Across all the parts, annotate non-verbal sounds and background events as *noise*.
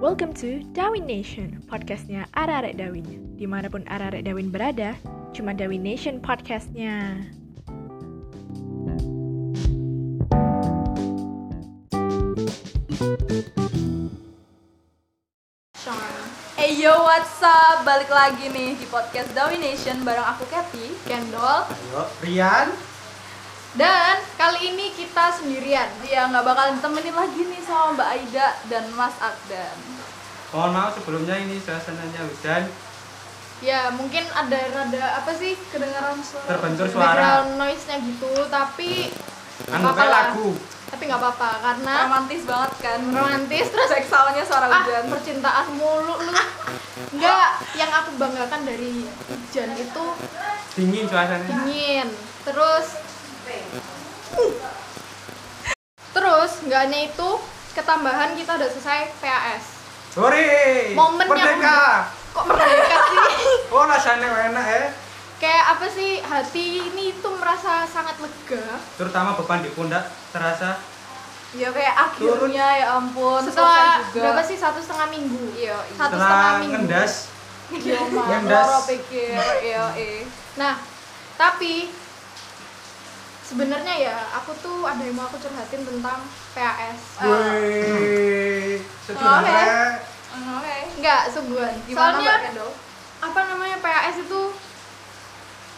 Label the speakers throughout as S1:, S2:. S1: Welcome to Darwin Nation, podcastnya Ararek Dawin. Dimanapun Ararek Dawin berada, cuma Dawin Nation podcastnya.
S2: Hey yo, what's up? Balik lagi nih di podcast Dawi Nation bareng aku Kathy, Kendall
S3: Ayo, Rian.
S2: Dan kali ini kita sendirian Ya, nggak bakalan ditemenin lagi nih sama Mbak Aida dan Mas Akdan
S3: Mohon maaf sebelumnya ini suasananya hujan.
S4: ya mungkin ada rada apa sih kedengaran suara
S3: Terbentur suara.
S4: background noise-nya gitu tapi
S3: Anggapnya
S4: Apa-apa.
S3: lagu.
S4: tapi nggak apa-apa karena
S2: Romantis banget kan?
S4: romantis terus
S2: Terus soundnya suara
S4: ah
S2: hujan
S4: percintaan mulu lu nggak yang aku banggakan dari hujan itu
S3: Dingin suasananya.
S4: dingin terus terus nggak hanya itu ketambahan kita udah selesai PAS
S3: Sore.
S4: Momen yang-
S3: Merdeka.
S4: kok mereka sih
S3: Oh, rasanya enak ya.
S4: kayak apa sih hati ini tuh merasa sangat lega
S3: Terutama beban di pundak terasa.
S2: Ya kayak akhirnya ya ampun
S4: setelah
S2: selesai
S4: berapa sih satu setengah minggu
S2: Iya, iya.
S4: satu setengah
S3: Setelah
S4: minggu
S3: ngendas,
S2: *laughs* Iya, Mak.
S3: Ngendas.
S2: Loro pikir, iya, eh
S4: nah tapi sebenarnya ya aku tuh ada yang mau aku curhatin tentang PAS
S3: wih,
S2: Oh, oke.
S3: sedihnya
S2: Oke
S4: enggak sungguhan
S2: Gimana
S4: soalnya
S2: Mbak Kendall?
S4: apa namanya PAS itu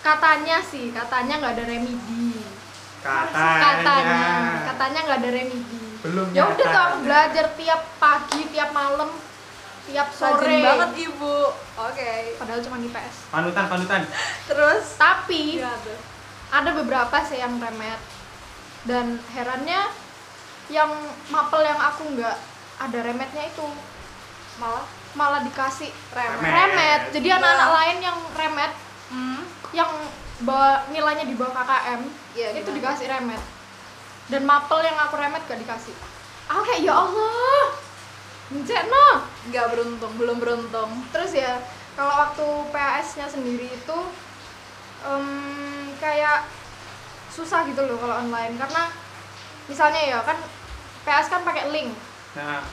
S4: katanya sih katanya nggak ada remedi
S2: Hmm,
S3: katanya.
S4: katanya katanya nggak ada remedi
S3: Belum
S4: ya udah tuh aku
S3: nyata.
S4: belajar tiap pagi tiap malam tiap sore
S2: Rajin banget ibu Oke
S4: padahal cuma IPS
S3: Panutan, panutan.
S2: Terus
S4: tapi
S2: Iya, tuh.
S4: ada beberapa sih yang remet dan herannya yang mapel yang aku nggak ada remetnya itu malah malah dikasih remet,
S3: Remet.
S4: jadi
S2: Iya.
S4: anak-anak lain yang remet
S2: Hmm.
S4: yang ba- nilainya di bawah KKM
S2: Iya,
S4: itu
S2: gimana?
S4: dikasih remet dan mapel yang aku remet gak dikasih aku kayak ya Allah mencet no
S2: Nggak beruntung, belum beruntung
S4: terus ya kalau waktu PAS nya sendiri itu em, kayak susah gitu loh kalau online karena misalnya ya kan PAS kan pakai link
S3: Nah,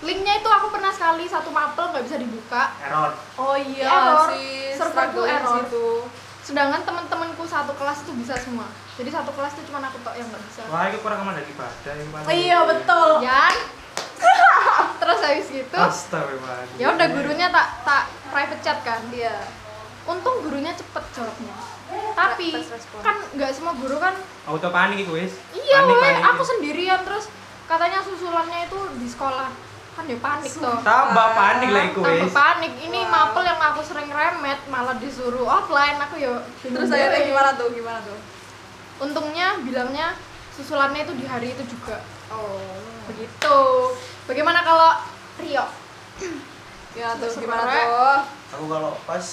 S4: linknya itu aku pernah sekali satu mapel nggak bisa dibuka
S3: error.
S2: Oh iya
S4: Error.
S2: sih,
S4: Serverku
S2: struggle-nya
S4: error.
S2: situ.
S4: sedangkan temen-temenku satu kelas itu bisa semua jadi satu kelas itu cuma aku tok yang nggak bisa
S3: Wah, itu kurang aman dari badan. ini,
S4: Oh
S3: Pak.
S2: Iya betul.
S4: Yan *laughs* terus habis gitu
S3: Astagfirullahaladzim.
S4: ya udah gurunya tak tak private chat kan
S2: Iya.
S4: untung gurunya cepet jawabnya tapi
S2: Fast respon.
S4: kan nggak semua guru kan
S3: Auto panik itu, wis.
S4: Iya,
S3: Panik,
S4: weh,
S3: panik.
S4: aku sendirian terus katanya susulannya itu di sekolah. Kan dia panik toh.
S3: Tambah panik lah iku,
S4: Tambah
S3: wis.
S4: panik. Ini
S2: Wah.
S4: mapel yang aku sering remet malah disuruh offline. Aku ya bingung
S2: Terus akhirnya
S4: deh.
S2: gimana tuh? Gimana tuh?
S4: Untungnya bilangnya susulannya itu di hari itu juga.
S2: Oh.
S4: Begitu. Bagaimana kalau Rio?
S2: Ya tuh
S4: Terus
S2: gimana
S4: sebenarnya-
S2: tuh?
S5: aku kalau pas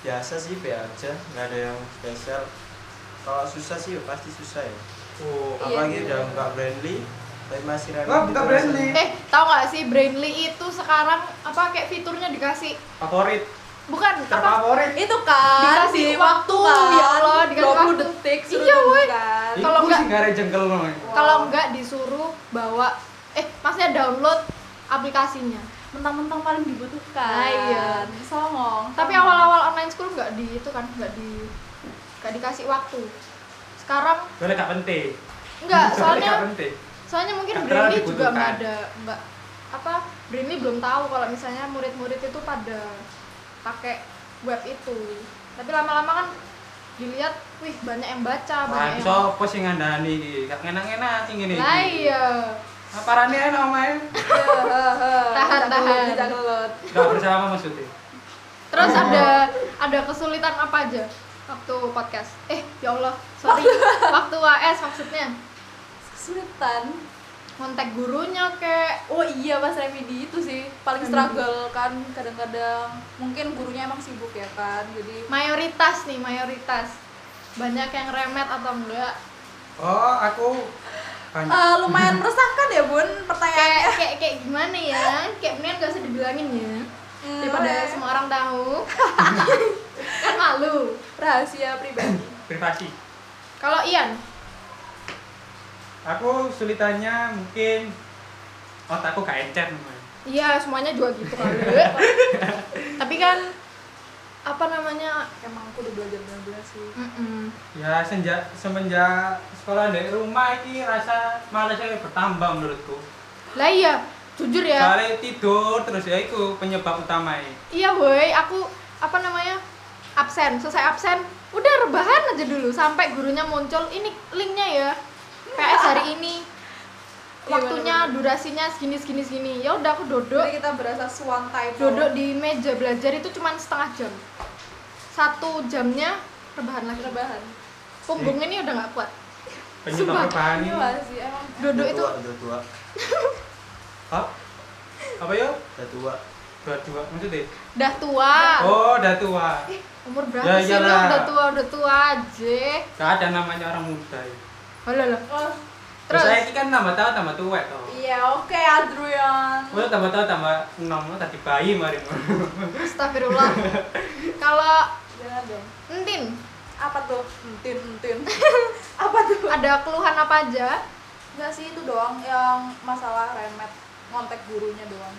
S5: biasa sih be aja nggak ada yang spesial kalau susah sih ya pasti susah ya
S3: Oh,
S5: apalagi
S4: iya.
S5: udah buka friendly tapi masih ragu
S3: Wah, buka friendly.
S4: Eh, tau gak sih Brainly itu sekarang apa kayak fiturnya dikasih
S3: favorit.
S4: bukan apa Iya,
S3: Terfavorit.
S2: Itu kan
S4: Dikasih
S2: di
S4: waktu,
S2: kan,
S4: ya Allah, dikasih
S2: 20
S4: waktu.
S2: detik kan? suruh
S4: Iya, woy.
S2: temukan.
S4: Ih. Kalau
S3: Iku
S4: enggak-
S3: sih nggak ada jengkel no.
S4: kalau enggak disuruh bawa eh maksudnya download aplikasinya
S2: Mentang-mentang paling dibutuhkan.
S4: Nah, iya.
S2: Songong.
S4: tapi
S2: *laughs*
S4: awal-awal online school nggak di itu kan nggak di nggak dikasih waktu sekarang
S3: Soalnya gak penting.
S4: nggak
S3: Soalnya
S4: soalnya
S3: gak penting.
S4: soalnya mungkin
S3: Nggak terlalu
S4: Brini juga nggak
S3: dibutuhkan.
S4: ada nggak apa Brini belum tahu kalau misalnya murid-murid itu pada pakai web itu tapi lama-lama kan dilihat wih banyak yang baca
S3: Wah,
S4: banyak yang
S3: sopo Nah, sing ngandani iki? Gak ngenak-ngenak sing ngene iki.
S4: ya? lah iya
S3: Aparane enak omae.
S2: Iya,
S4: Tahan, tahan.
S2: Tahan.
S3: Gak bersama maksudnya.
S4: Terus ada ada kesulitan apa aja waktu podcast? Eh, ya Allah, sorry. waktu AS maksudnya
S2: Kesulitan.
S4: kontak gurunya kayak
S2: Oh iya pas remedi itu sih paling struggle kan kadang-kadang mungkin gurunya emang sibuk ya kan jadi
S4: mayoritas nih, mayoritas. Banyak yang remet atau enggak?
S3: Oh, aku
S4: Ah.
S3: banyak.
S2: Eh, lumayan
S4: kan
S2: meresahkan ya bun pertanyaannya
S4: Kayak kayak kayak gimana ya? Kayak mendingan gak usah dibilangin ya.
S2: Hmm,
S4: Daripada
S2: oke.
S4: semua orang tahu. *laughs* kan malu.
S2: rahasia pribadi
S3: privasi.
S4: Kalau Ian,
S3: Aku sulitannya mungkin otakku gak encer namanya.
S4: Iya, semuanya juga gitu kali.
S2: Tapi kan
S4: Apa namanya?
S2: emang aku udah belajar benar-benar sih.
S4: Mm-mm.
S3: Ya senja semenjak sekolah dari rumah ini rasa malasnya bertambah menurutku.
S4: Lah iya, jujur ya.
S3: Soalnya tidur terus ya itu penyebab utamanya.
S4: Iya, woi, aku apa namanya? absen. Selesai absen, udah rebahan aja dulu sampai gurunya muncul ini linknya ya. PS hari ini.
S2: Iya,
S4: Waktunya, durasinya segini segini segini. Ya udah aku dodok,
S2: Jadi kita berasa swantai
S4: dodok di meja belajar itu cuma setengah jam. Satu jamnya rebahan lagi.
S2: rebahan.
S4: Punggung ini udah nggak kuat. Sumpah.
S3: Penyebab perubahan ini
S2: Iya sih emang.
S4: Dodok itu
S5: tua, udah tua
S3: Hah? Apa ya?
S5: udah tua
S3: Dua dua maksudnya?
S4: udah tua.
S3: Oh, udah tua.
S4: Umur berapa
S3: Ya
S4: sih lu
S3: iyalah.
S4: udah tua udah tua aja.
S3: Gak ada namanya orang muda. Ya.
S4: Halo lah.
S2: Oh,
S3: Terus
S4: Terus?
S3: saya ini kan tambah tahu tambah tua toh.
S2: iya oke Adrian.
S3: Wah, tambah tahu tambah enam lo tadi bayi mari. *laughs*
S4: Astagfirullah. Kalau
S2: Jangan dong.
S4: Entin
S2: Apa tuh? Entin entin. *laughs* Apa tuh?
S4: ada keluhan apa aja?
S2: Enggak sih itu doang yang masalah remet ngontek gurunya doang.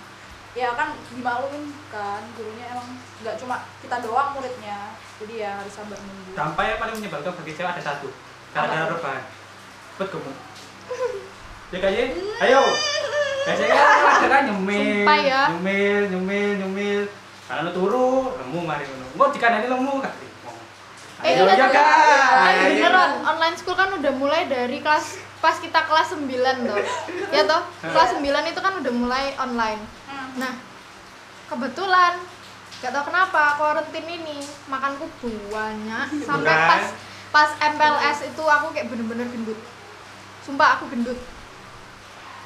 S2: Ya kan dimaklumin kan gurunya emang nggak cuma kita doang muridnya. Jadi ya harus sabar nunggu.
S3: Dampak yang paling menyebabkan bagi cewek ada satu. Karena ada perubahan. Pet kamu.
S4: *laughs*
S3: Ya kayaknya, ayo. Biasanya
S4: *laughs*
S3: kan ada kan nyemil,
S4: Sumpah ya.
S3: nyemil, nyemil, nyemil. Karena lo turu, lemu mari ngono. Mau di kanan lemu kan.
S4: Eh,
S3: Ayo
S4: iya
S3: ya
S4: juga.
S3: kan.
S4: Kan beneran online school kan udah mulai dari kelas pas kita kelas 9
S3: *laughs*
S4: tuh. Ya toh, kelas 9 itu kan udah mulai online.
S2: Hmm.
S4: Nah, kebetulan gak tau kenapa karantin ini makanku banyak sampai
S3: Beneran.
S4: pas pas MPLS itu aku kayak bener-bener gendut sumpah aku gendut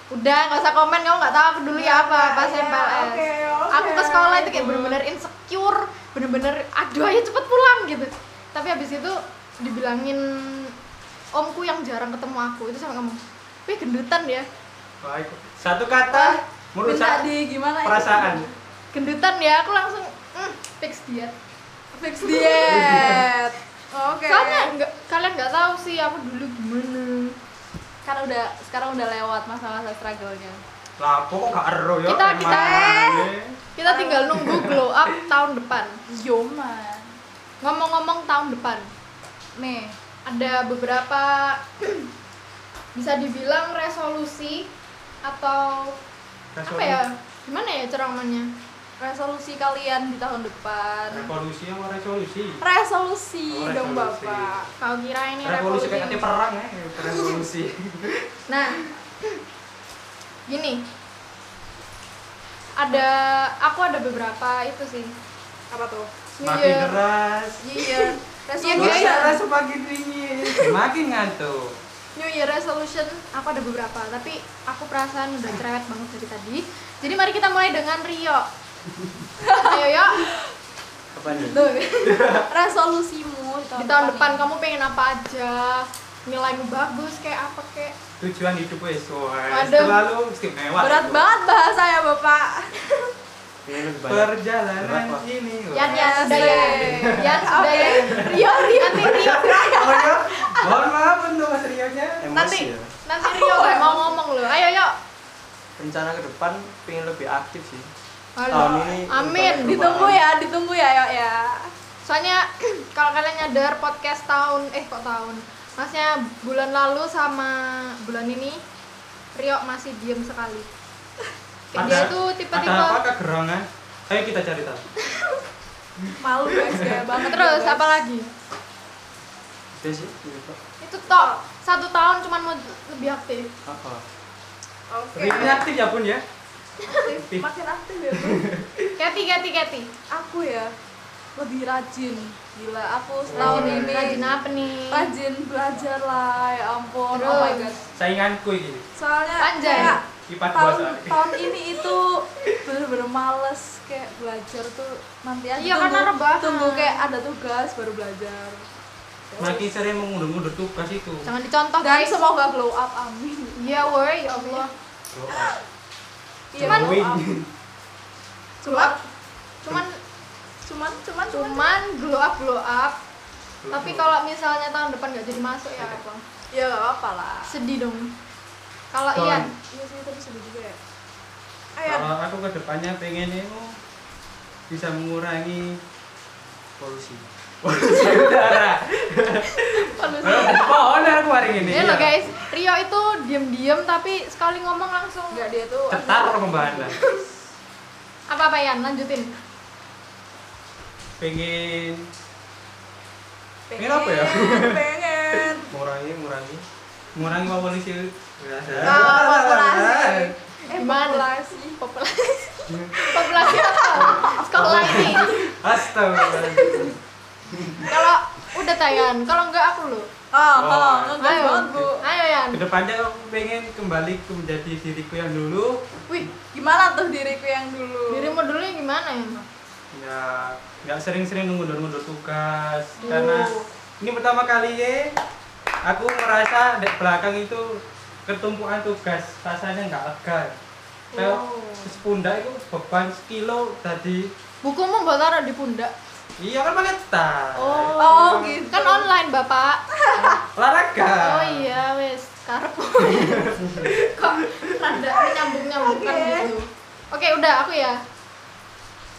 S4: udah nggak usah komen kamu nggak tahu aku dulu ya apa pas
S2: Iya,
S4: MPLS
S2: oke, oke.
S4: aku ke sekolah itu kayak bener-bener insecure bener-bener aduh ayo cepet pulang gitu tapi habis itu dibilangin omku yang jarang ketemu aku itu sama ngomong wih gendutan ya
S3: Baik. Satu kata
S2: Minta
S3: merusak
S2: di gimana itu?
S3: perasaan.
S4: gendutan ya aku langsung mm, fix diet
S2: Fix
S3: *laughs*
S2: diet. Oke.
S4: Soalnya nggak- kalian nggak tahu sih aku dulu gimana.
S2: kan udah sekarang udah lewat masa-masa struggle-nya.
S3: Lah, kok gak ero ya? eh.
S4: Kita- kita- eh.
S3: emangnya?
S2: Ah.
S4: Kita tinggal nunggu glow up tahun depan.
S2: Yo Iya, man.
S4: Ngomong-ngomong tahun depan,
S2: Nih,
S4: ada beberapa *clears throat* bisa dibilang resolusi atau apa
S3: Resolusi-
S4: ya? Gimana ya ceramahnya?
S2: resolusi kalian di tahun depan.
S3: Revolusi apa resolusi?
S2: Resolusi
S3: Oh,
S2: dong
S3: resolusi.
S2: Bapak.
S4: Kau kira ini
S3: Revolusi kayak nanti
S4: ya, revolusi?
S3: perang ya, revolusi.
S4: Nah, gini. Ada aku ada beberapa itu sih.
S2: Apa tuh?
S4: New
S3: Makin
S4: Year.
S3: keras,
S2: *laughs* Iya.
S4: New Year.
S3: suara semakin dingin, semakin ngantuk.
S4: New Year resolution aku ada beberapa, tapi aku perasaan udah cerewet banget dari tadi. Jadi mari kita mulai dengan Rio.
S3: *laughs*
S4: Ayo yo,
S5: apa nih
S2: Tuh.
S3: *laughs*
S2: Resolusimu di tahun,
S4: di tahun depan kamu pengen apa aja? Nilaimu bagus kayak apa kayak?
S3: Tujuan hidup wes, wes,
S4: Waduh.
S3: terlalu istimewa.
S2: Berat
S3: itu.
S2: banget bahasa ya Bapak.
S5: Kayaknya lebih banyak
S3: Perjalanan
S5: Berat, Pak.
S3: ini. wah.
S4: Yan yan sudah ya, yan sudah ya.
S2: Rio Rio
S4: Nanti Rio,
S3: Oh ya, mohon maaf untuk Mas Rio nya.
S4: nanti
S5: emosi ya
S4: nanti Rio gak mau ngomong loh. Ayo yo.
S5: rencana ke depan pengen lebih aktif sih Tahun
S4: Halo.
S5: ini
S4: Amin. Gitu.
S5: untuk
S2: ditunggu ya, ditunggu ya yuk ya.
S4: Soalnya *clears throat* kalau kalian nyadar podcast tahun eh kok tahun? Maksudnya bulan lalu sama bulan ini Rio masih diem sekali. Kayak dia
S3: Ada-
S4: itu tipe-tipe
S3: Ada apa kegerangan? Ayo kita cari tahu.
S2: Malu guys ya banget.
S4: terus
S2: guys.
S4: apa lagi?
S5: udah sih gitu.
S4: Itu tok satu tahun cuman mau lebih aktif.
S5: apa
S2: Oke.
S3: Rio
S4: Iya.
S3: nya aktif ya pun ya.
S2: Aktif. Makin aktif ya. Bu.
S4: Keti keti keti.
S2: Aku ya lebih rajin. Gila, aku setahun
S3: Rajin.
S2: ini
S4: Oh, iya. Rajin apa nih?
S2: rajin belajar lah. Ya ampun. Oh my god.
S4: Terus.
S3: Sainganku ini.
S2: Soalnya
S4: Anjay.
S2: kayak
S3: Kipat dua
S2: tahun
S3: *laughs* soalnya.
S2: tahun ini itu bener-bener males kayak belajar tuh nanti aja
S4: Iya,
S2: tunggu,
S4: karena rebahan.
S2: tunggu kayak ada tugas baru belajar
S3: Makin sering mengundur-undur tugas itu.
S4: Jangan dicontoh
S2: dan
S4: guys.
S2: semoga glow up amin
S4: Iya woi, ya
S3: Oh,
S4: Allah.
S5: doa
S4: Ah,
S2: iya
S3: Cuman-
S2: glow up
S4: Glow up. Cuman
S2: cuman cuman cuman
S4: cuman glow up glow up. Tapi kalau misalnya tahun depan gak jadi masuk ya apa?
S2: ya gak apa-apa lah
S4: Sedih dong. Kalau
S3: Tahun-
S4: Ian,
S2: iya sih tapi sedih juga ya
S3: ah,
S2: Ayo.
S5: Kalau aku kedepannya pengen itu
S3: oh,
S5: bisa mengurangi polusi.
S3: Saudara. Pohon aku hari ini.
S4: Ini Iya loh guys, Rio itu diem-diem tapi sekali ngomong langsung
S2: Enggak dia tuh
S3: Cetar pembahasan.
S4: apa-apa ya, lanjutin.
S5: Pengen
S2: pengen,
S3: apa ya?
S2: pengen.
S5: mengurangi mengurangi
S3: mengurangi polusi udara.
S2: Ah, populasi. Eh,
S4: Gimana?
S2: populasi.
S4: Populasi. Populasi apa? Sekolah ini.
S3: Astagfirullah.
S4: Kalau udah tayan, kalau enggak aku loh.
S2: Oh,
S3: Oh,
S2: oh, ngegas
S4: Ayo,
S2: banget, Bu.
S4: ayo Yan.
S3: Kedepannya aku pengen kembali ke menjadi diriku yang dulu.
S4: Wih,
S2: Gimana tuh diriku yang dulu?
S4: dirimu dulu gimana ya?
S3: Ya, nggak sering-sering ngundur-ngundur tugas
S4: Oh.
S3: karena ini pertama kali ya aku merasa di belakang itu ketumpuan tugas rasanya nggak lega. Kayak
S4: Oh.
S3: sepundak itu beban sekilo tadi
S4: Bukumu mbak taruh di pundak.
S3: iya kan pakai tas
S2: Oh, gitu.
S4: Kan online bapak.
S3: olahraga
S4: Oh iya wes, karpo. *laughs* Kok rada nyambung nyambungkan
S2: Oke.
S4: gitu. Oke udah aku ya.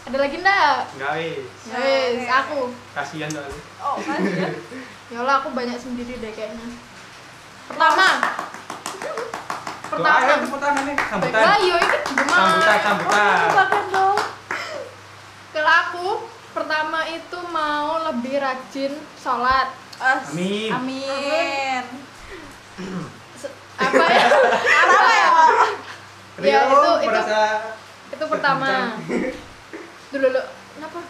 S4: Ada lagi ndak?
S3: nggak wis
S4: Ya wes,
S2: Oke.
S4: aku.
S3: kasihan soalnya
S2: *laughs* Oh, kan ya.
S4: Yolah aku banyak sendiri deh kayaknya. Pertama.
S3: Doa, ayo,
S4: Pertama.
S3: tepuk tangan nih
S4: Baik,
S3: sambutan
S4: Wah, iya, yo ini Oh,
S3: sambutan
S4: gimana?
S3: sambutan
S4: iya, Kalau aku pertama itu mau lebih rajin sholat.
S2: As-
S3: Amin.
S2: Amin.
S4: Se- Apa ya? Apa ya? Ya,
S3: Rio
S4: itu- itu-
S3: merasa
S4: Itu pertama. Dulu lo, kenapa?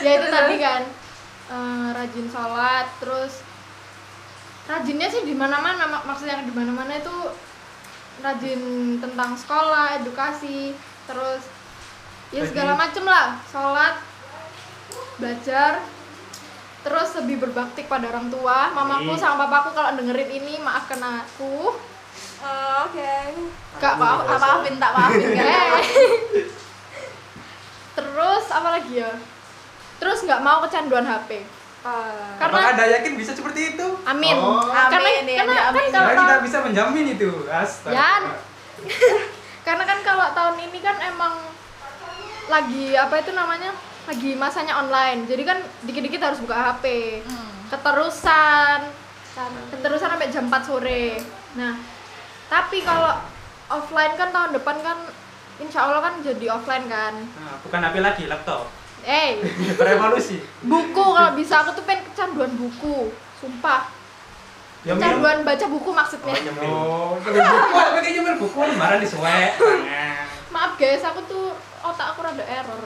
S4: ya itu tadi kan eh, rajin sholat, terus rajinnya sih di mana-mana mak- maksudnya di mana-mana itu rajin tentang sekolah, edukasi, terus ya
S3: Rajin.
S4: segala macem lah, sholat, belajar, terus lebih berbakti pada orang tua. Mamaku
S3: Amin.
S4: sama papaku kalau dengerin ini maafkan aku.
S2: Eh, Oke. Eh.
S4: Gak
S5: Aku
S4: apa
S5: juga
S2: Tak maafin, tak *laughs* kan? maafin, guys.
S4: *laughs* Terus apa lagi ya? Terus nggak mau kecanduan HP.
S2: Eh,
S4: Karena-
S3: apakah anda yakin bisa seperti itu
S4: Amin.
S3: Oh.
S4: Karena
S2: Amin, ya,
S4: karena
S2: ya,
S4: kan
S2: amin.
S4: kalau
S3: Karena kita bisa menjamin itu astaga
S4: Yan. karena kan kalau tahun ini kan emang lagi apa itu namanya? Lagi masanya online. Jadi kan dikit-dikit harus buka HP.
S2: Hmm.
S4: Keterusan. Keterusan sampai jam 4 sore. Nah, tapi kalau offline kan tahun depan kan insya Allah kan jadi offline kan.
S3: Nah, bukan HP lagi laptop
S4: Eh,
S3: revolusi
S4: buku kalau bisa aku tuh pengen kecanduan buku sumpah
S3: Ya, minum.
S4: kecanduan baca buku maksudnya
S5: Pokoknya minum.
S3: Oh, nyemil buku, aku kayak nyemil buku, marah disuwek. Nah. Tangan.
S4: maaf guys aku tuh otak aku rada error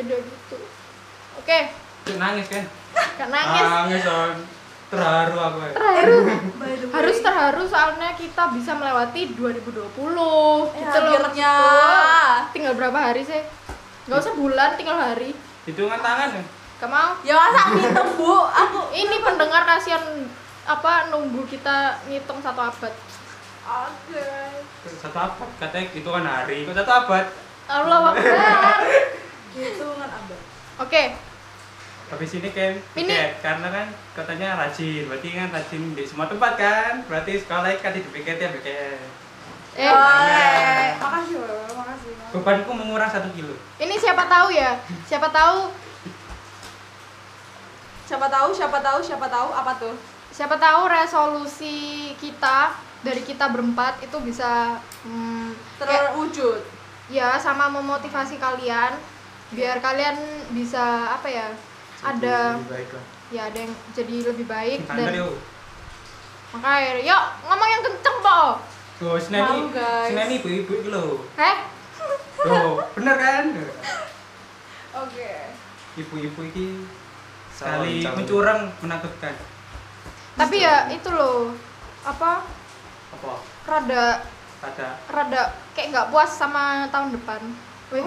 S4: jadi gitu oke
S3: Cuk, Nangis kan?
S4: gak
S3: Ah.
S4: nangis
S3: Son. Terharu aku. ya.
S4: terharu
S2: by the way,
S4: harus terharu soalnya kita bisa melewati 2020 gitu loh
S2: akhirnya.
S4: maksudku. tinggal berapa hari sih nggak usah bulan tinggal hari
S3: Hitungan tangan. ya?
S4: gak mau
S2: Ya masa ngitung, Bu? Aku
S4: ini pendengar kasihan apa nunggu kita ngitung satu abad
S2: Oke.
S3: Satu abad, katanya hitungan hari. Kok satu abad?
S4: Allah Akbar
S2: Hitungan abad.
S4: oke
S3: Habis ini kan
S4: Ini.
S3: tiket, karena kan katanya rajin, berarti kan rajin di semua tempat kan? Berarti sekolah kan di BKT ya BKT.
S4: eh
S2: Oke. Makasih, Bu. Makasih. makasih.
S3: Bebanku mengurang satu kilo.
S4: Ini siapa tahu ya? Siapa tahu?
S2: Siapa tahu, siapa tahu, siapa tahu apa tuh?
S4: Siapa tahu resolusi kita dari kita berempat itu bisa hmm, kayak-
S2: Terwujud.
S4: ya sama memotivasi kalian biar kalian bisa apa ya? Ada
S5: Lebih baik lah.
S4: ya ada yang jadi lebih baik
S3: Anda
S4: dan
S3: yuk.
S4: makanya yuk ngomong yang kenceng po.
S3: Tuh, seneni,
S2: Mau, guys.
S3: seneni ibu-ibu itu loh.
S4: Heh?
S3: Tuh, bener kan?
S2: Oke.
S3: Ibu-ibu ini
S5: Salam,
S3: sekali
S5: salam.
S3: mencurang menakutkan.
S4: Tapi ya itu loh apa
S3: Apa?
S4: rada
S3: Pada
S4: rada kayak nggak puas sama tahun depan. Wih,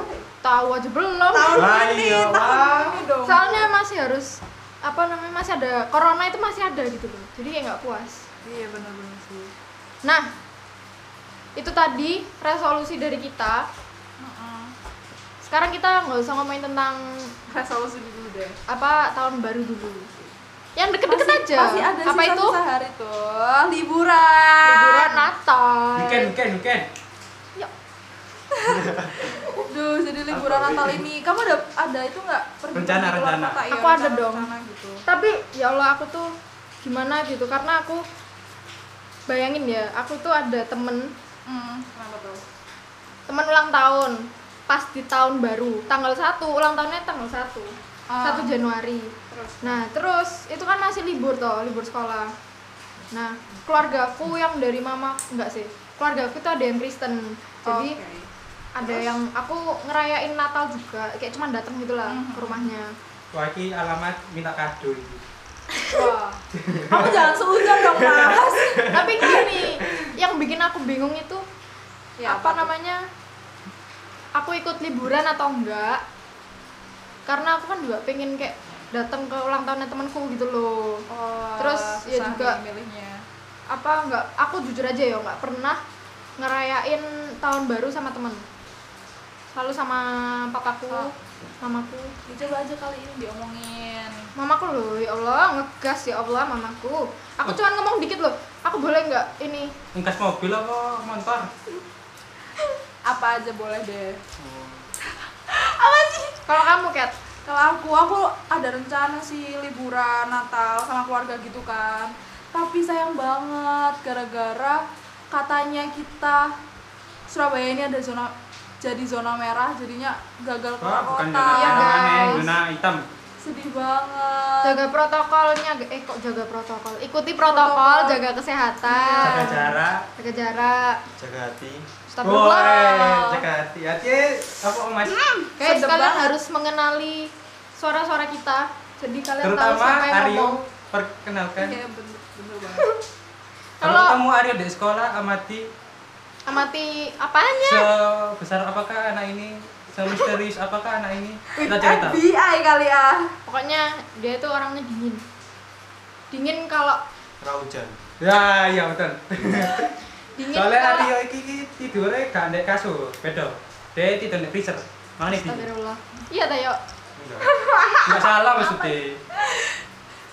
S4: tahu aja belum.
S2: Tahun
S3: Wah,
S2: ini,
S3: iya,
S2: tahun
S3: wah.
S2: ini dong.
S4: soalnya masih harus apa namanya masih ada corona itu masih ada gitu loh jadi kayak nggak puas
S2: Iya benar-benar sih.
S4: nah itu tadi resolusi dari kita
S2: Heeh.
S4: sekarang kita nggak usah ngomongin tentang
S2: Resolusi dulu deh.
S4: apa tahun baru dulu yang deket-deket
S2: Masih-
S4: aja
S2: Masih ada
S4: apa itu
S2: sisa hari tuh liburan.
S4: liburan Natal Ya,
S3: Bukan, bukan, bukan.
S2: Duh, jadi liburan
S5: Apa
S2: Natal ini
S5: ini?
S2: kamu ada ada itu nggak pergi
S3: Rencana,
S2: keluar
S3: rencana.
S2: kota? Iya,
S4: Aku ada
S2: rencana-
S4: dong.
S2: rencana gitu.
S4: tapi ya Allah aku tuh gimana gitu karena aku bayangin ya aku tuh ada temen Mm.
S2: Hmm, kenapa tuh?
S4: temen ulang tahun pas di tahun baru tanggal 1 ulang tahunnya tanggal 1
S2: Ah.
S4: 1 Januari
S2: Terus.
S4: nah terus itu kan masih libur toh libur sekolah nah keluargaku yang dari mama enggak sih keluargaku tuh ada yang Kristen jadi
S2: Oke.
S4: ada yang aku ngerayain Natal juga kayak cuman dateng gitu lah
S2: Mhm.
S4: ke rumahnya
S3: Waki alamat minta kado itu.
S2: Wah. Kamu jangan seuzon dong, Mas.
S4: *laughs* tapi gini yang bikin aku bingung itu Ya,
S2: Ya,
S4: apa
S2: tuh?
S4: namanya aku ikut liburan atau enggak karena aku kan juga pengen kayak datang ke ulang tahunnya temanku gitu loh
S2: Oh,
S4: Terus, ya
S2: susah
S4: juga-
S2: nih milihnya.
S4: apa enggak aku jujur aja ya enggak pernah ngerayain tahun baru sama temen selalu sama papaku
S2: Oh.
S4: mamaku
S2: Dicoba Ya, aja kali ini diomongin.
S4: mamaku loh ya Allah ngegas ya Allah mamaku aku
S3: Oh.
S4: cuman ngomong dikit loh aku boleh enggak ini
S3: Ungkas mobil apa motor?
S2: Apa aja boleh deh.
S4: kalau kamu cat
S2: Kalau aku, aku ada rencana sih liburan Natal sama keluarga gitu kan. Tapi sayang banget gara-gara katanya kita Surabaya ini ada zona jadi zona merah, jadinya gagal keluar
S3: Wah, Ah, bukan
S2: kota.
S3: zona
S4: Iya,
S3: merah
S4: guys.
S3: aneh, zona hitam.
S2: Sedih banget.
S4: jaga protokolnya eh kok jaga protokol ikuti
S2: Protokol.
S4: protokol jaga kesehatan
S3: Jaga jarak.
S4: jaga jarak
S5: jaga hati
S3: Boleh,
S4: Astagfirullah.
S3: jaga hati-hati. Apa
S4: Hmm,
S3: Mas?
S4: Guys,
S2: Sedep
S4: kalian
S2: banget.
S4: harus mengenali suara-suara kita. Jadi kalian tahu
S3: Terutama
S4: siapa yang
S3: Aryo
S4: ngomong.
S3: perkenalkan.
S2: Iya, bener, bener banget.
S3: Kalau
S4: Kalau-
S3: kamu Aryo di sekolah amati
S4: Amati apanya?
S3: sebesar apakah anak ini? Semisterius apakah anak ini? Kita cerita.
S2: FBI kali ya.
S4: Pokoknya dia itu orangnya dingin. Dingin kalau
S5: raujan
S3: Ya, iya betul.
S4: dingin
S3: Soalnya
S4: kalau-
S3: Aryo iki iki tidurnya gak ndek kasur, beda. Dia tidur di freezer. Mana nih? Bi?
S4: Astagfirullah. Iya, Tayo.
S5: enggak
S3: Enggak salah maksudnya.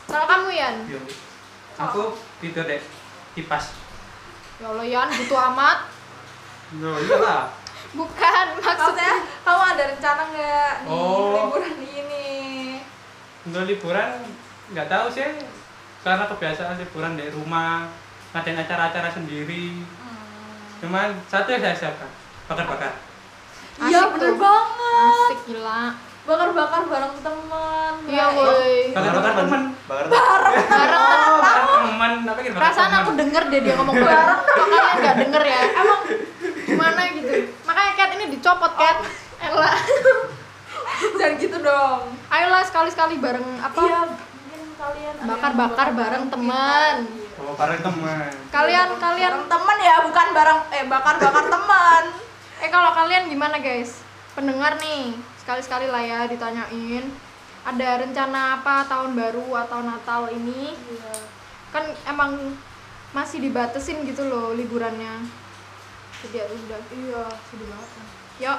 S4: Kalau kamu Yan,
S3: Yo. Aku tidur dek kipas.
S4: ya Allah Yan butuh amat.
S3: No, iyalah.
S4: Bukan maksudnya.
S2: Maksudnya, kamu ada rencana nggak nih
S3: Oh.
S2: liburan ini?
S3: Untuk liburan nggak tahu sih karena kebiasaan liburan di rumah ngadain acara-acara sendiri
S2: Hmm.
S3: cuman satu yang saya siapkan bakar-bakar
S2: Iya
S4: Asik
S2: bener
S4: tuh.
S2: banget.
S4: Asik gila.
S2: Bakar-bakar bareng teman.
S4: Iya,
S2: Nah, *laughs*
S4: woi.
S3: bakar-bakar temen
S5: bakar
S3: oh bakar temen apa kira
S4: Perasaan aku denger deh dia ngomong bareng, kok kalian gak denger ya? Emang gimana gitu? Makanya Cat ini dicopot, Cat. Elah.
S2: Jangan gitu dong.
S4: Ayolah sekali-sekali bareng apa?
S2: Iya, mungkin kalian ada yang gitu.
S4: Bakar-bakar bareng teman.
S2: kita.
S3: oh bareng temen
S4: Kalian kalian
S2: Bareng teman ya, bukan bareng eh bakar-bakar teman.
S4: eh kalau kalian gimana guys? Pendengar nih, sekali-sekali lah ya ditanyain ada rencana apa tahun baru atau Natal ini?
S2: Iya.
S4: Kan emang masih dibatesin gitu loh liburannya. Jadi ya udah.
S2: Iya, sedih banget.
S4: Yuk,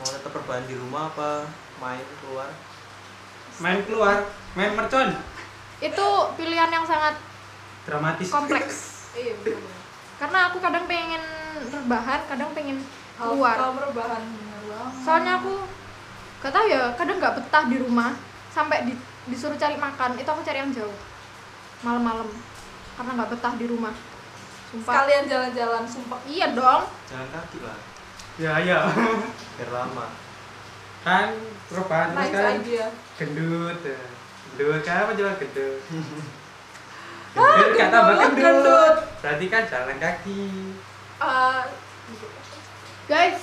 S5: mau tetap berbahan di rumah apa main keluar
S3: main keluar main mercon
S4: itu pilihan yang sangat
S3: dramatis
S4: kompleks.
S2: Iya, bener.
S4: Karena aku kadang pengen rebahan, kadang pengen
S2: Keluar.
S4: keluar.
S2: rebahan bener banget.
S4: soalnya aku gak tau ya kadang nggak betah di rumah sampai di- disuruh cari makan itu aku cari yang jauh malam-malam karena nggak betah di rumah sumpah
S2: sekalian jalan-jalan sumpah.
S4: iya dong
S5: jalan kaki lah
S3: ya
S2: *laughs*
S3: ya
S5: biar lama
S3: kan perubahan terus
S2: Nice
S3: kan
S2: idea.
S3: gendut ya. gendut kan apa jalan gendut
S2: *laughs*
S3: gendut gak tambah
S2: Ah, gendut,
S3: gendut
S2: gendut.
S3: berarti kan jalan kaki
S2: Eh,
S4: guys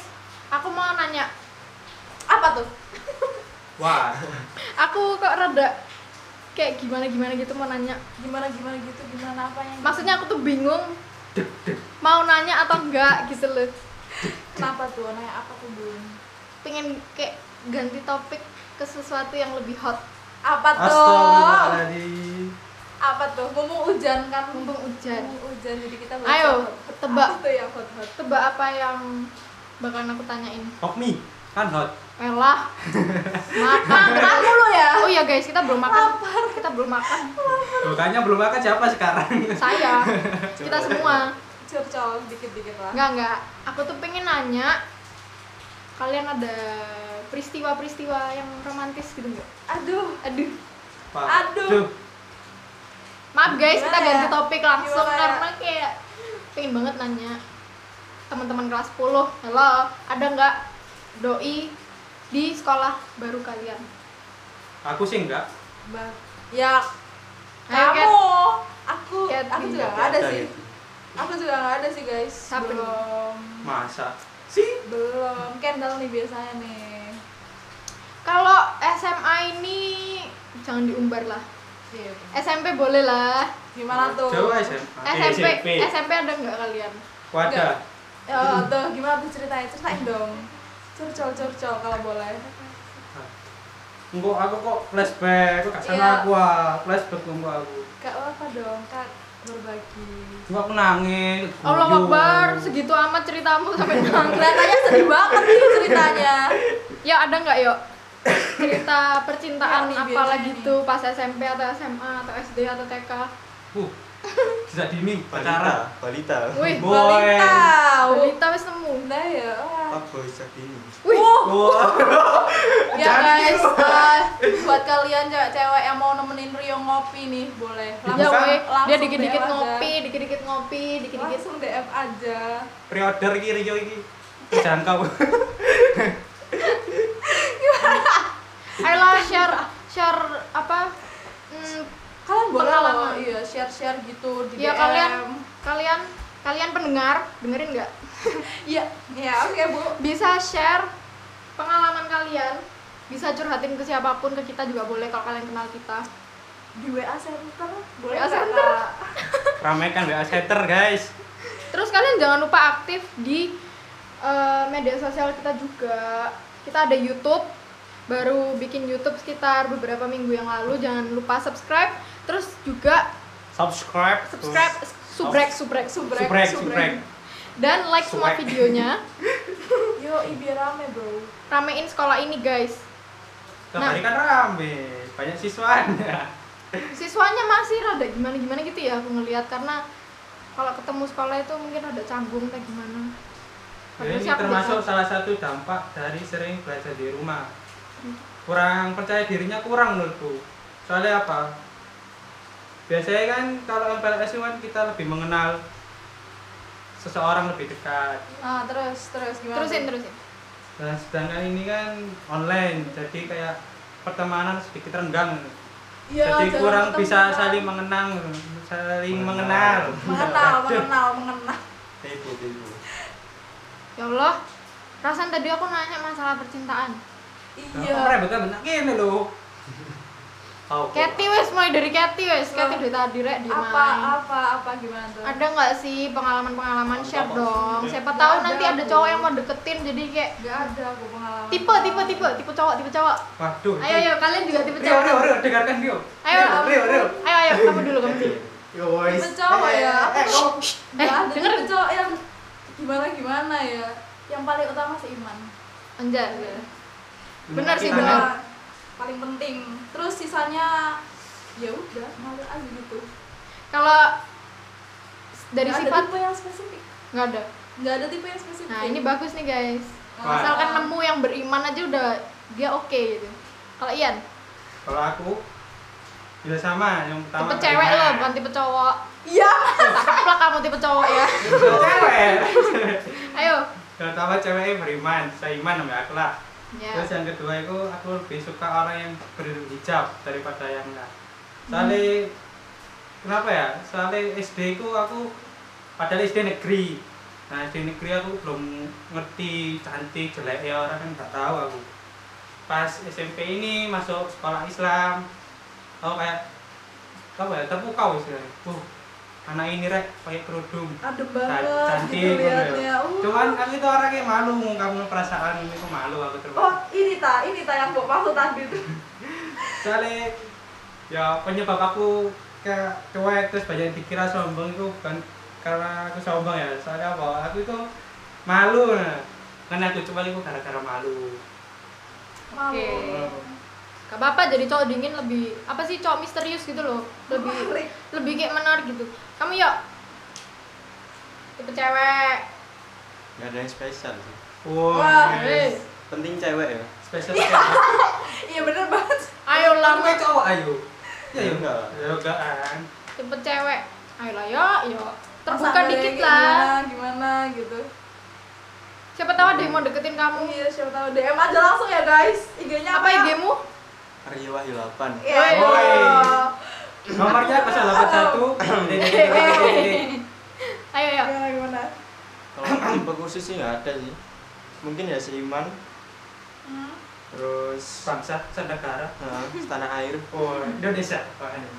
S4: aku mau nanya
S2: apa tuh?
S3: wah
S4: aku kok rada kayak gimana gimana gitu mau nanya
S2: Gimana gimana gitu, gimana apa yang
S4: maksudnya aku tuh bingung mau nanya atau enggak gitu loh
S2: kenapa tuh? Nanya apa tuh belum?
S4: pengen kayak ganti topik ke sesuatu yang lebih hot
S2: Apa tuh?
S5: astagfirullahaladzim
S2: apa tuh mumpung hujan kan
S4: Mumpung hujan.
S2: mumpung hujan jadi kita bahas
S4: Ayo,
S2: hot-hot.
S4: tebak.
S2: Apa tuh yang ya, hot hot
S4: tebak apa yang bakalan aku tanyain
S3: Hokmi kan hot
S4: Elah. Makan.
S2: Makan mulu ya.
S4: Oh iya guys, kita belum makan. Kita belum makan.
S3: Tuh, kayaknya belum makan siapa
S2: *laughs*
S3: sekarang?
S4: Saya. Kita semua.
S2: Curcol dikit-dikit lah.
S4: Enggak, enggak. Aku tuh pengen nanya kalian ada peristiwa-peristiwa yang romantis gitu enggak?
S2: Aduh,
S4: Aduh.
S3: Pak.
S2: Aduh.
S3: Duh,
S4: Maaf guys, kita
S2: Gimana ya?
S4: ganti topik langsung
S2: Gimana ya?
S4: karena kayak pengen banget nanya teman-teman kelas 10. Halo, ada nggak doi di sekolah baru kalian?
S3: aku sih enggak.
S2: Ba- ya
S4: Ayo,
S2: kamu. Aku
S4: Cat,
S2: aku juga
S4: Nggak
S2: nggak ada
S5: Ada
S2: sih.
S5: gitu.
S2: Aku juga nggak ada sih, guys.
S4: Siapa nih?
S2: Belum.
S3: Masa? Sih?
S2: Belum. Kendall nih biasanya nih.
S4: Kalau SMA ini jangan diumbar lah.
S2: Iya.
S4: SMP boleh lah.
S2: Gimana tuh?
S3: Coba SMA. Eh,
S4: SMP, SMP ada nggak kalian?
S3: Wadah.
S2: Ya, tuh gimana tuh ceritanya? Ceritain dong. Curcol, curcol kalau boleh.
S3: Engko aku kok flashback, kok gak sana
S2: Iya.
S3: aku ah. Flashback engko aku.
S2: Kak oh, apa dong, Kak berbagi.
S3: Engko aku nangis.
S4: Allah
S3: guyu.
S4: Akbar, segitu amat ceritamu sampai nangis.
S2: Kelihatannya sedih banget nih ceritanya.
S4: Ya ada nggak yuk cerita percintaan
S2: Ya, nih,
S4: apalah
S2: biasanya
S4: gitu pas SMP atau SMA atau SD atau TK?
S3: Uh. Sejak dini
S5: Balita,
S3: pacaran.
S5: balita.
S4: Wih,
S3: Boy.
S2: Balita.
S4: Balita wis nemu.
S2: Nah ya. wah.
S5: Pak Boy Sakini.
S4: Wih,
S3: Wah,
S2: Ya guys, eh, buat kalian cewek-cewek yang mau nemenin Rio ngopi nih, boleh.
S4: ya
S3: Bukan,
S4: weh, dia
S2: langsung
S4: dikit-dikit
S2: DM aja.
S4: ngopi, dikit-dikit ngopi, dikit-dikit.
S2: Langsung DM aja.
S3: pre-order iki Rio iki. Terjangkau.
S4: Ayolah share share apa? Hmm,
S2: Kalian boleh loh,
S4: Pengalaman.
S2: iya share-share gitu di
S4: ya
S2: DM.
S4: kalian kalian kalian pendengar dengerin nggak?
S2: Iya, iya oke Bu.
S4: Bisa share pengalaman kalian, bisa curhatin ke siapapun ke kita juga boleh kalau kalian kenal kita.
S2: Di WA Center boleh
S4: WA
S2: nggak,
S4: Center.
S2: Kak?
S3: Ramekan WA setter, guys.
S4: Terus kalian jangan lupa aktif di eh, media sosial kita juga. Kita ada YouTube, baru bikin YouTube sekitar beberapa minggu yang lalu. Jangan lupa subscribe. Terus juga
S3: Subscribe.
S4: subscribe subrek subrek subrek,
S3: Subrek,
S4: subrek.
S3: subrek.
S4: Dan like semua
S3: Subrek.
S4: videonya.
S2: Yo, ibi rame, Bro.
S4: Ramein sekolah ini guys. Nah.
S3: Nah, kan rame. Banyak siswanya.
S4: Siswanya masih rada gimana gimana gitu ya aku ngelihat karena kalau ketemu sekolah itu mungkin rada canggung kayak gimana.
S3: Ya,
S4: Padahal
S3: ini
S4: sih aku
S3: termasuk
S4: udah-
S3: salah satu dampak dari sering belajar di rumah. Kurang percaya dirinya kurang menurutku. Soalnya apa? Biasanya kan kalau MPLS itu kan kita lebih mengenal seseorang lebih dekat.
S2: Nah, terus terus gimana?
S4: terusin
S2: tuh?
S4: terusin.
S3: Dan sedangkan ini kan online, jadi kayak pertemanan sedikit renggang.
S2: Iya,
S3: jadi
S2: jangan
S3: kurang
S2: ketemu
S3: bisa
S2: kan.
S3: saling Eh, mengenang, saling mengenal.
S5: Mengenal.
S2: mengenal,
S3: Aduh.
S2: mengenal, mengenal.
S5: Ibu, ibu.
S4: Ya Allah, perasaan tadi aku nanya masalah percintaan.
S2: Iya.
S3: Iya. Rebecca benar gini loh. Oh,
S4: Keti wes mulai dari Keti wes, Keti
S2: Loh.
S4: dari tadi rek di
S2: Apa apa apa gimana tuh?
S4: Ada nggak sih pengalaman-pengalaman share
S5: Apa?
S4: dong? Siapa
S2: Nggak
S4: tahu
S2: ada
S4: nanti ada
S2: aku.
S4: cowok yang mau deketin jadi kayak
S2: Gak ada aku pengalaman.
S4: tipe tipe tipe tipe cowok tipe cowok.
S3: Waduh.
S4: Ayo ayo kalian juga tipe
S3: Rio, Rio,
S4: cowok.
S3: Rio, dengarkan Rio.
S4: Ayo.
S3: Rio, Rio.
S4: Ayo ayo kamu dulu kamu
S3: *laughs*
S4: dulu.
S5: Yo, guys.
S2: Tipe cowok ya.
S5: Eh, kamu.
S4: Eh,
S2: Gak ada
S4: denger.
S2: tipe cowok yang gimana gimana ya. Yang paling utama sih iman.
S4: Anjay. Benar sih
S3: Kita-
S4: benar.
S2: Nah, Paling penting. Terus sisanya ya udah ngalir aja gitu.
S4: Kalau dari
S2: Nggak ada
S4: sifat
S2: tipe yang spesifik.
S4: nggak ada.
S2: Gak ada tipe yang spesifik. Nah,
S4: Nah ini bagus nih guys.
S3: Wah.
S4: Misalkan nemu yang beriman aja udah dia oke gitu. Kalau Ian,
S3: Kalau aku juga sama yang pertama.
S4: tipe cewek
S3: Rina.
S4: loh bukan tipe cowok.
S2: Iya.
S4: Cakep lah kamu tipe cowok ya.
S3: *laughs* Tipe
S4: *laughs*
S3: cewek.
S4: Ayo.
S3: Yang pertama ceweknya beriman, seiman sama aku lah.
S4: Ya.
S3: Terus yang kedua itu aku lebih suka orang yang berhidung hijab daripada yang enggak.
S2: Hmm.
S3: Soalnya kenapa ya? Soalnya SD ku aku padahal SD negeri. Nah SD negeri aku belum ngerti cantik jelek ya orang kan nggak tahu aku. Pas SMP ini masuk sekolah Islam, aku kayak apa ya terpukau istilahnya. Uh, anak ini rek pakai kerudung
S2: Adem
S3: Ca-
S2: banget
S3: cantik
S2: gitu
S3: gitu
S2: liatnya.
S3: ya.
S2: Uh.
S3: Cuman aku itu orangnya malu ngungkapin perasaan ini aku malu aku terus.
S2: Oh, ini ta, ini ta yang mbok maksud tadi tuh.
S3: soalnya ya penyebab aku ke cuek terus banyak dikira sombong itu bukan karena aku sombong ya Kan soalnya apa aku itu malu nah. karena aku cuma itu gara-gara malu
S4: Oke.
S2: Mabuk.
S4: Gak apa-apa jadi cowok dingin lebih apa sih cowok misterius gitu loh. Lebih
S2: Menarik.
S4: lebih kayak menarik gitu. Kamu yuk. Tipe cewek.
S5: nggak ada yang spesial sih
S3: Wow,
S2: Wah,
S3: yes.
S4: eh.
S5: penting cewek ya
S3: iya. Spesial cewek.
S2: Iya bener banget.
S4: Ayo lah.
S3: Kamu yang cowok ayo. Ya
S5: Ya,
S3: ya
S5: enggak.
S3: Ya enggak an.
S4: Tipe cewek. Ayo lah yuk, yuk. Terbuka
S2: Pasangannya
S4: dikit
S2: kayak
S4: lah.
S2: Gimana, gimana gitu.
S4: Siapa tahu ada yang mau deketin
S2: Oh
S4: kamu.
S2: iya siapa tahu DM aja langsung ya guys. IG-nya
S4: Apa IG-mu?
S5: Rio Wahyu 8
S2: Iya.
S4: Woi.
S2: dong.
S3: Nomornya 081.
S4: Ayo yuk.
S2: Gimana gimana?
S5: kalau tipe khusus sih nggak ada sih mungkin ya seiman
S2: Hmm.
S5: terus
S3: Bangsa Sandakara.
S5: nah, tanah air
S3: Oh, Indonesia. Wah, ini.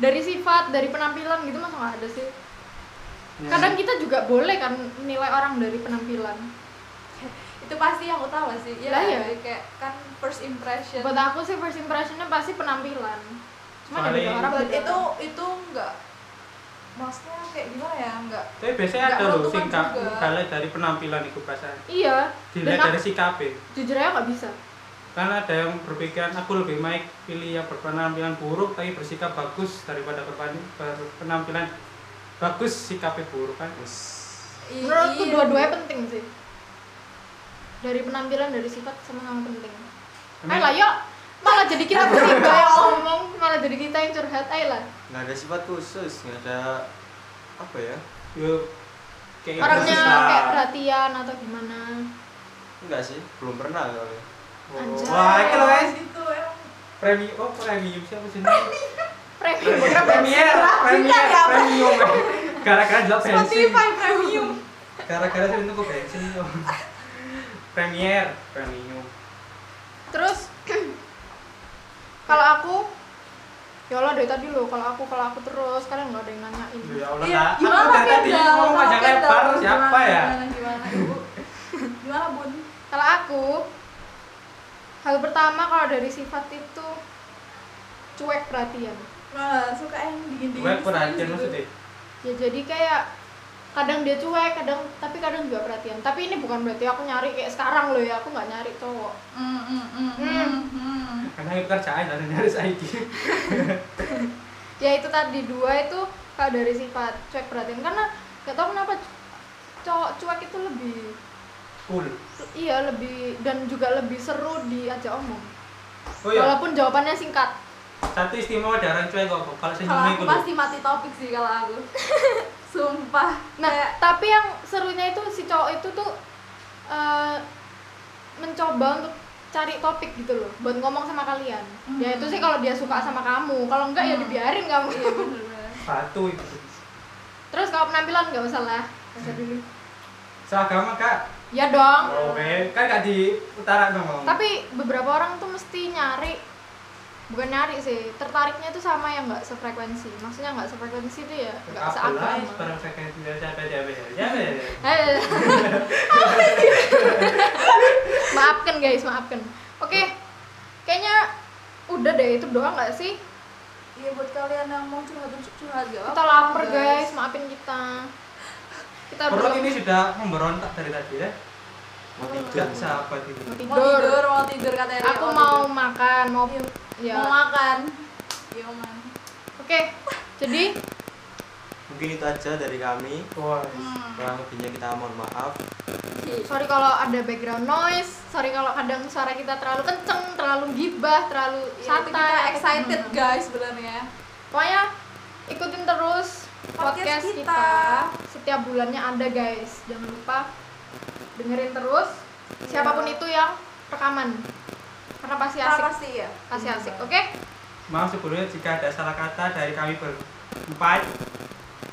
S4: Dari sifat, dari penampilan gitu masa nggak ada sih.
S3: Ya.
S4: Kadang kita juga boleh kan nilai orang dari penampilan.
S2: Itu pasti yang utama sih. Iya
S4: Lah, iya.
S2: kan? kayak kan first impression.
S4: Buat aku sih first impressionnya pasti penampilan. Cuman ya
S3: Paling-
S4: beda orang
S2: But
S4: beda
S2: itu
S4: orang.
S2: itu enggak maksudnya kayak gimana ya? Enggak
S3: Tapi biasanya
S2: Nggak
S3: ada loh
S2: menentukan
S3: sing ka-
S2: juga.
S3: kalah dari penampilan itu perasaan.
S4: iya. Dan
S3: Dilihat
S4: aku,
S3: dari sikapnya.
S4: jujur aja nggak bisa.
S3: Karena ada yang berpikiran aku lebih baik pilih yang berpenampilan buruk tapi bersikap bagus daripada berpan- berpenampilan bagus sikapnya buruk kan.
S5: terus
S2: I-
S4: Menurutku
S2: iya.
S4: dua-duanya penting sih. Dari penampilan, dari sifat sama-sama penting. Ayo lah yuk. Malah jadi
S3: *laughs*
S4: kita bertiga yang ngomong, malah jadi kita yang curhat. Ayo lah.
S5: nggak ada sifat khusus nggak ada apa ya
S3: Yuk. kayak
S4: Orangnya
S3: bagus lah.
S4: kayak perhatian atau gimana.
S5: enggak sih belum pernah soalnya
S3: Oh,
S4: Anjay.
S3: Wah, itu loh guys.
S2: gitu emang.
S3: Premium, oh premium siapa sih? Premier,
S4: Premium.
S3: premier, premier, premium. Gara-gara jual bensin.
S2: Spotify premium.
S3: Gara-gara sering tuku bensin yo. Premier, premium.
S4: Terus *clears throat* kalau aku ya Allah dari tadi loh kalau aku kalau aku terus kalian nggak ada yang nanyain
S3: Duh, Ya Allah,
S2: Iya,
S3: Kak.
S2: gimana
S3: Aku dari tadi
S2: Kendal?
S3: ngomong
S2: Sama
S3: panjang
S2: Kendal,
S3: lebar
S2: gimana,
S3: siapa ya?
S2: Gimana gimana Ibu? Gimana Bun?
S4: kalau aku hal pertama kalau dari sifat itu cuek perhatian
S2: Nah, suka yang dingin-dingin.
S3: Gue
S2: gitu,
S3: perhatian
S2: gitu.
S3: maksudnya.
S4: ya jadi kayak kadang dia cuek kadang tapi kadang juga perhatian tapi ini bukan berarti aku nyari kayak sekarang loh ya aku nggak nyari cowok
S2: Mm, mm, mm,
S4: Hmm.
S2: mm, mm.
S3: Karena ini pekerjaan dan ini harus IT.
S4: ya itu tadi dua itu kalau dari sifat cuek perhatian karena gak tau kenapa cowok cuek itu lebih
S3: Cool.
S4: iya lebih dan juga lebih seru diajak omong
S3: Oh iya,
S4: walaupun jawabannya singkat
S3: satu istimewa ada orang cuek kok. Kalau
S2: Kalau
S3: senyumnya
S2: aku
S3: itu loh.
S2: pasti mati topik sih kalau aku. *laughs* Sumpah.
S4: nah
S2: Kayak,
S4: tapi yang serunya itu si cowok itu tuh eh, mencoba untuk cari topik gitu loh buat ngomong sama kalian
S2: Hmm.
S4: ya itu sih kalau dia suka sama kamu kalau enggak ya
S2: Hmm.
S4: dibiarin kamu
S2: iya bener-bener.
S3: Batu itu.
S4: *laughs* terus kalau penampilan nggak usah lah Nggak usah dulu
S3: Seagama, Kak.
S4: ya dong
S3: Oh, be. Kan gak di utara dong.
S4: tapi beberapa orang tuh mesti nyari bukan nyari sih tertariknya tuh sama yang nggak sefrekuensi maksudnya nggak sefrekuensi itu ya nggak
S3: Apalagi
S4: seagama
S3: barang saya kayak tidak siapa siapa ya. Ya,
S4: Eh. *laughs* maafkan guys maafkan oke kayaknya udah deh itu doang nggak sih
S2: Iya buat kalian yang mau curhat curhat gak
S4: kita lapar guys maafin kita kita
S3: Perut
S4: udah
S3: ini sudah memberontak dari tadi ya.
S5: mau tidur
S3: Tidak sahabat itu.
S2: Mau tidur,
S4: tidur
S2: mau tidur katanya.
S4: aku mau makan mau
S2: Iya.
S4: ya
S2: mau
S4: oke
S2: makan. Iya, man.
S4: jadi
S5: mungkin itu aja dari kami
S3: Wah,
S5: kurang lebihnya kita mohon maaf
S2: Iya,
S4: sorry kalau ada background noise sorry kalau kadang suara kita terlalu kenceng terlalu gibah terlalu
S2: Satu
S4: santai
S2: kita excited
S4: Hmm.
S2: guys sebenarnya.
S4: pokoknya ikutin terus podcast,
S2: Podcast
S4: kita.
S2: kita.
S4: setiap bulannya ada guys jangan lupa dengerin terus siapapun itu yang rekaman karena pasti
S2: Kita
S4: Iya, asik
S2: pasti ya.
S4: pasti asik oke
S3: maaf sebelumnya jika ada salah kata dari kami berempat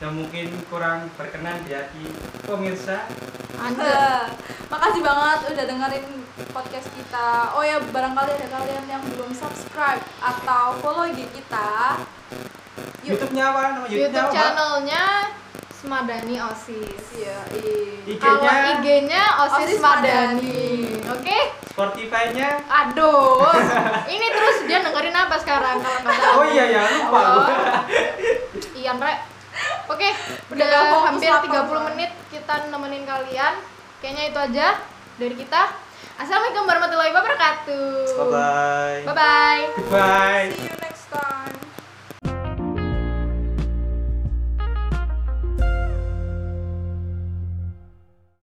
S3: yang mungkin kurang berkenan di hati pemirsa.
S4: lanjut
S2: Eh, *laughs* Makasih banget udah dengerin podcast kita. Oh ya, barangkali ada kalian yang belum subscribe atau follow IG kita. Yuk.
S3: YouTube-nya apa? Nama YouTube-nya
S4: YouTube
S3: apa?
S4: channelnya Semadani Osis
S2: Iya, iya.
S3: IG-nya?
S4: kalau IG-nya Osis,
S2: Osis
S4: Madani oke
S3: Spotify-nya?
S4: Aduh, ini terus dia dengerin apa sekarang kalau nggak tahu?
S3: Oh iya ya, lupa
S4: Allah.
S3: gua.
S4: Ian Rek. Iya, Oke,
S2: *laughs* Udah
S4: udah
S2: nggak fokus
S4: hampir
S2: lapar
S4: 30
S2: soalnya.
S4: menit kita nemenin kalian. Kayaknya itu aja dari kita. Assalamualaikum warahmatullahi wabarakatuh.
S5: Bye bye.
S4: Bye bye.
S3: Goodbye.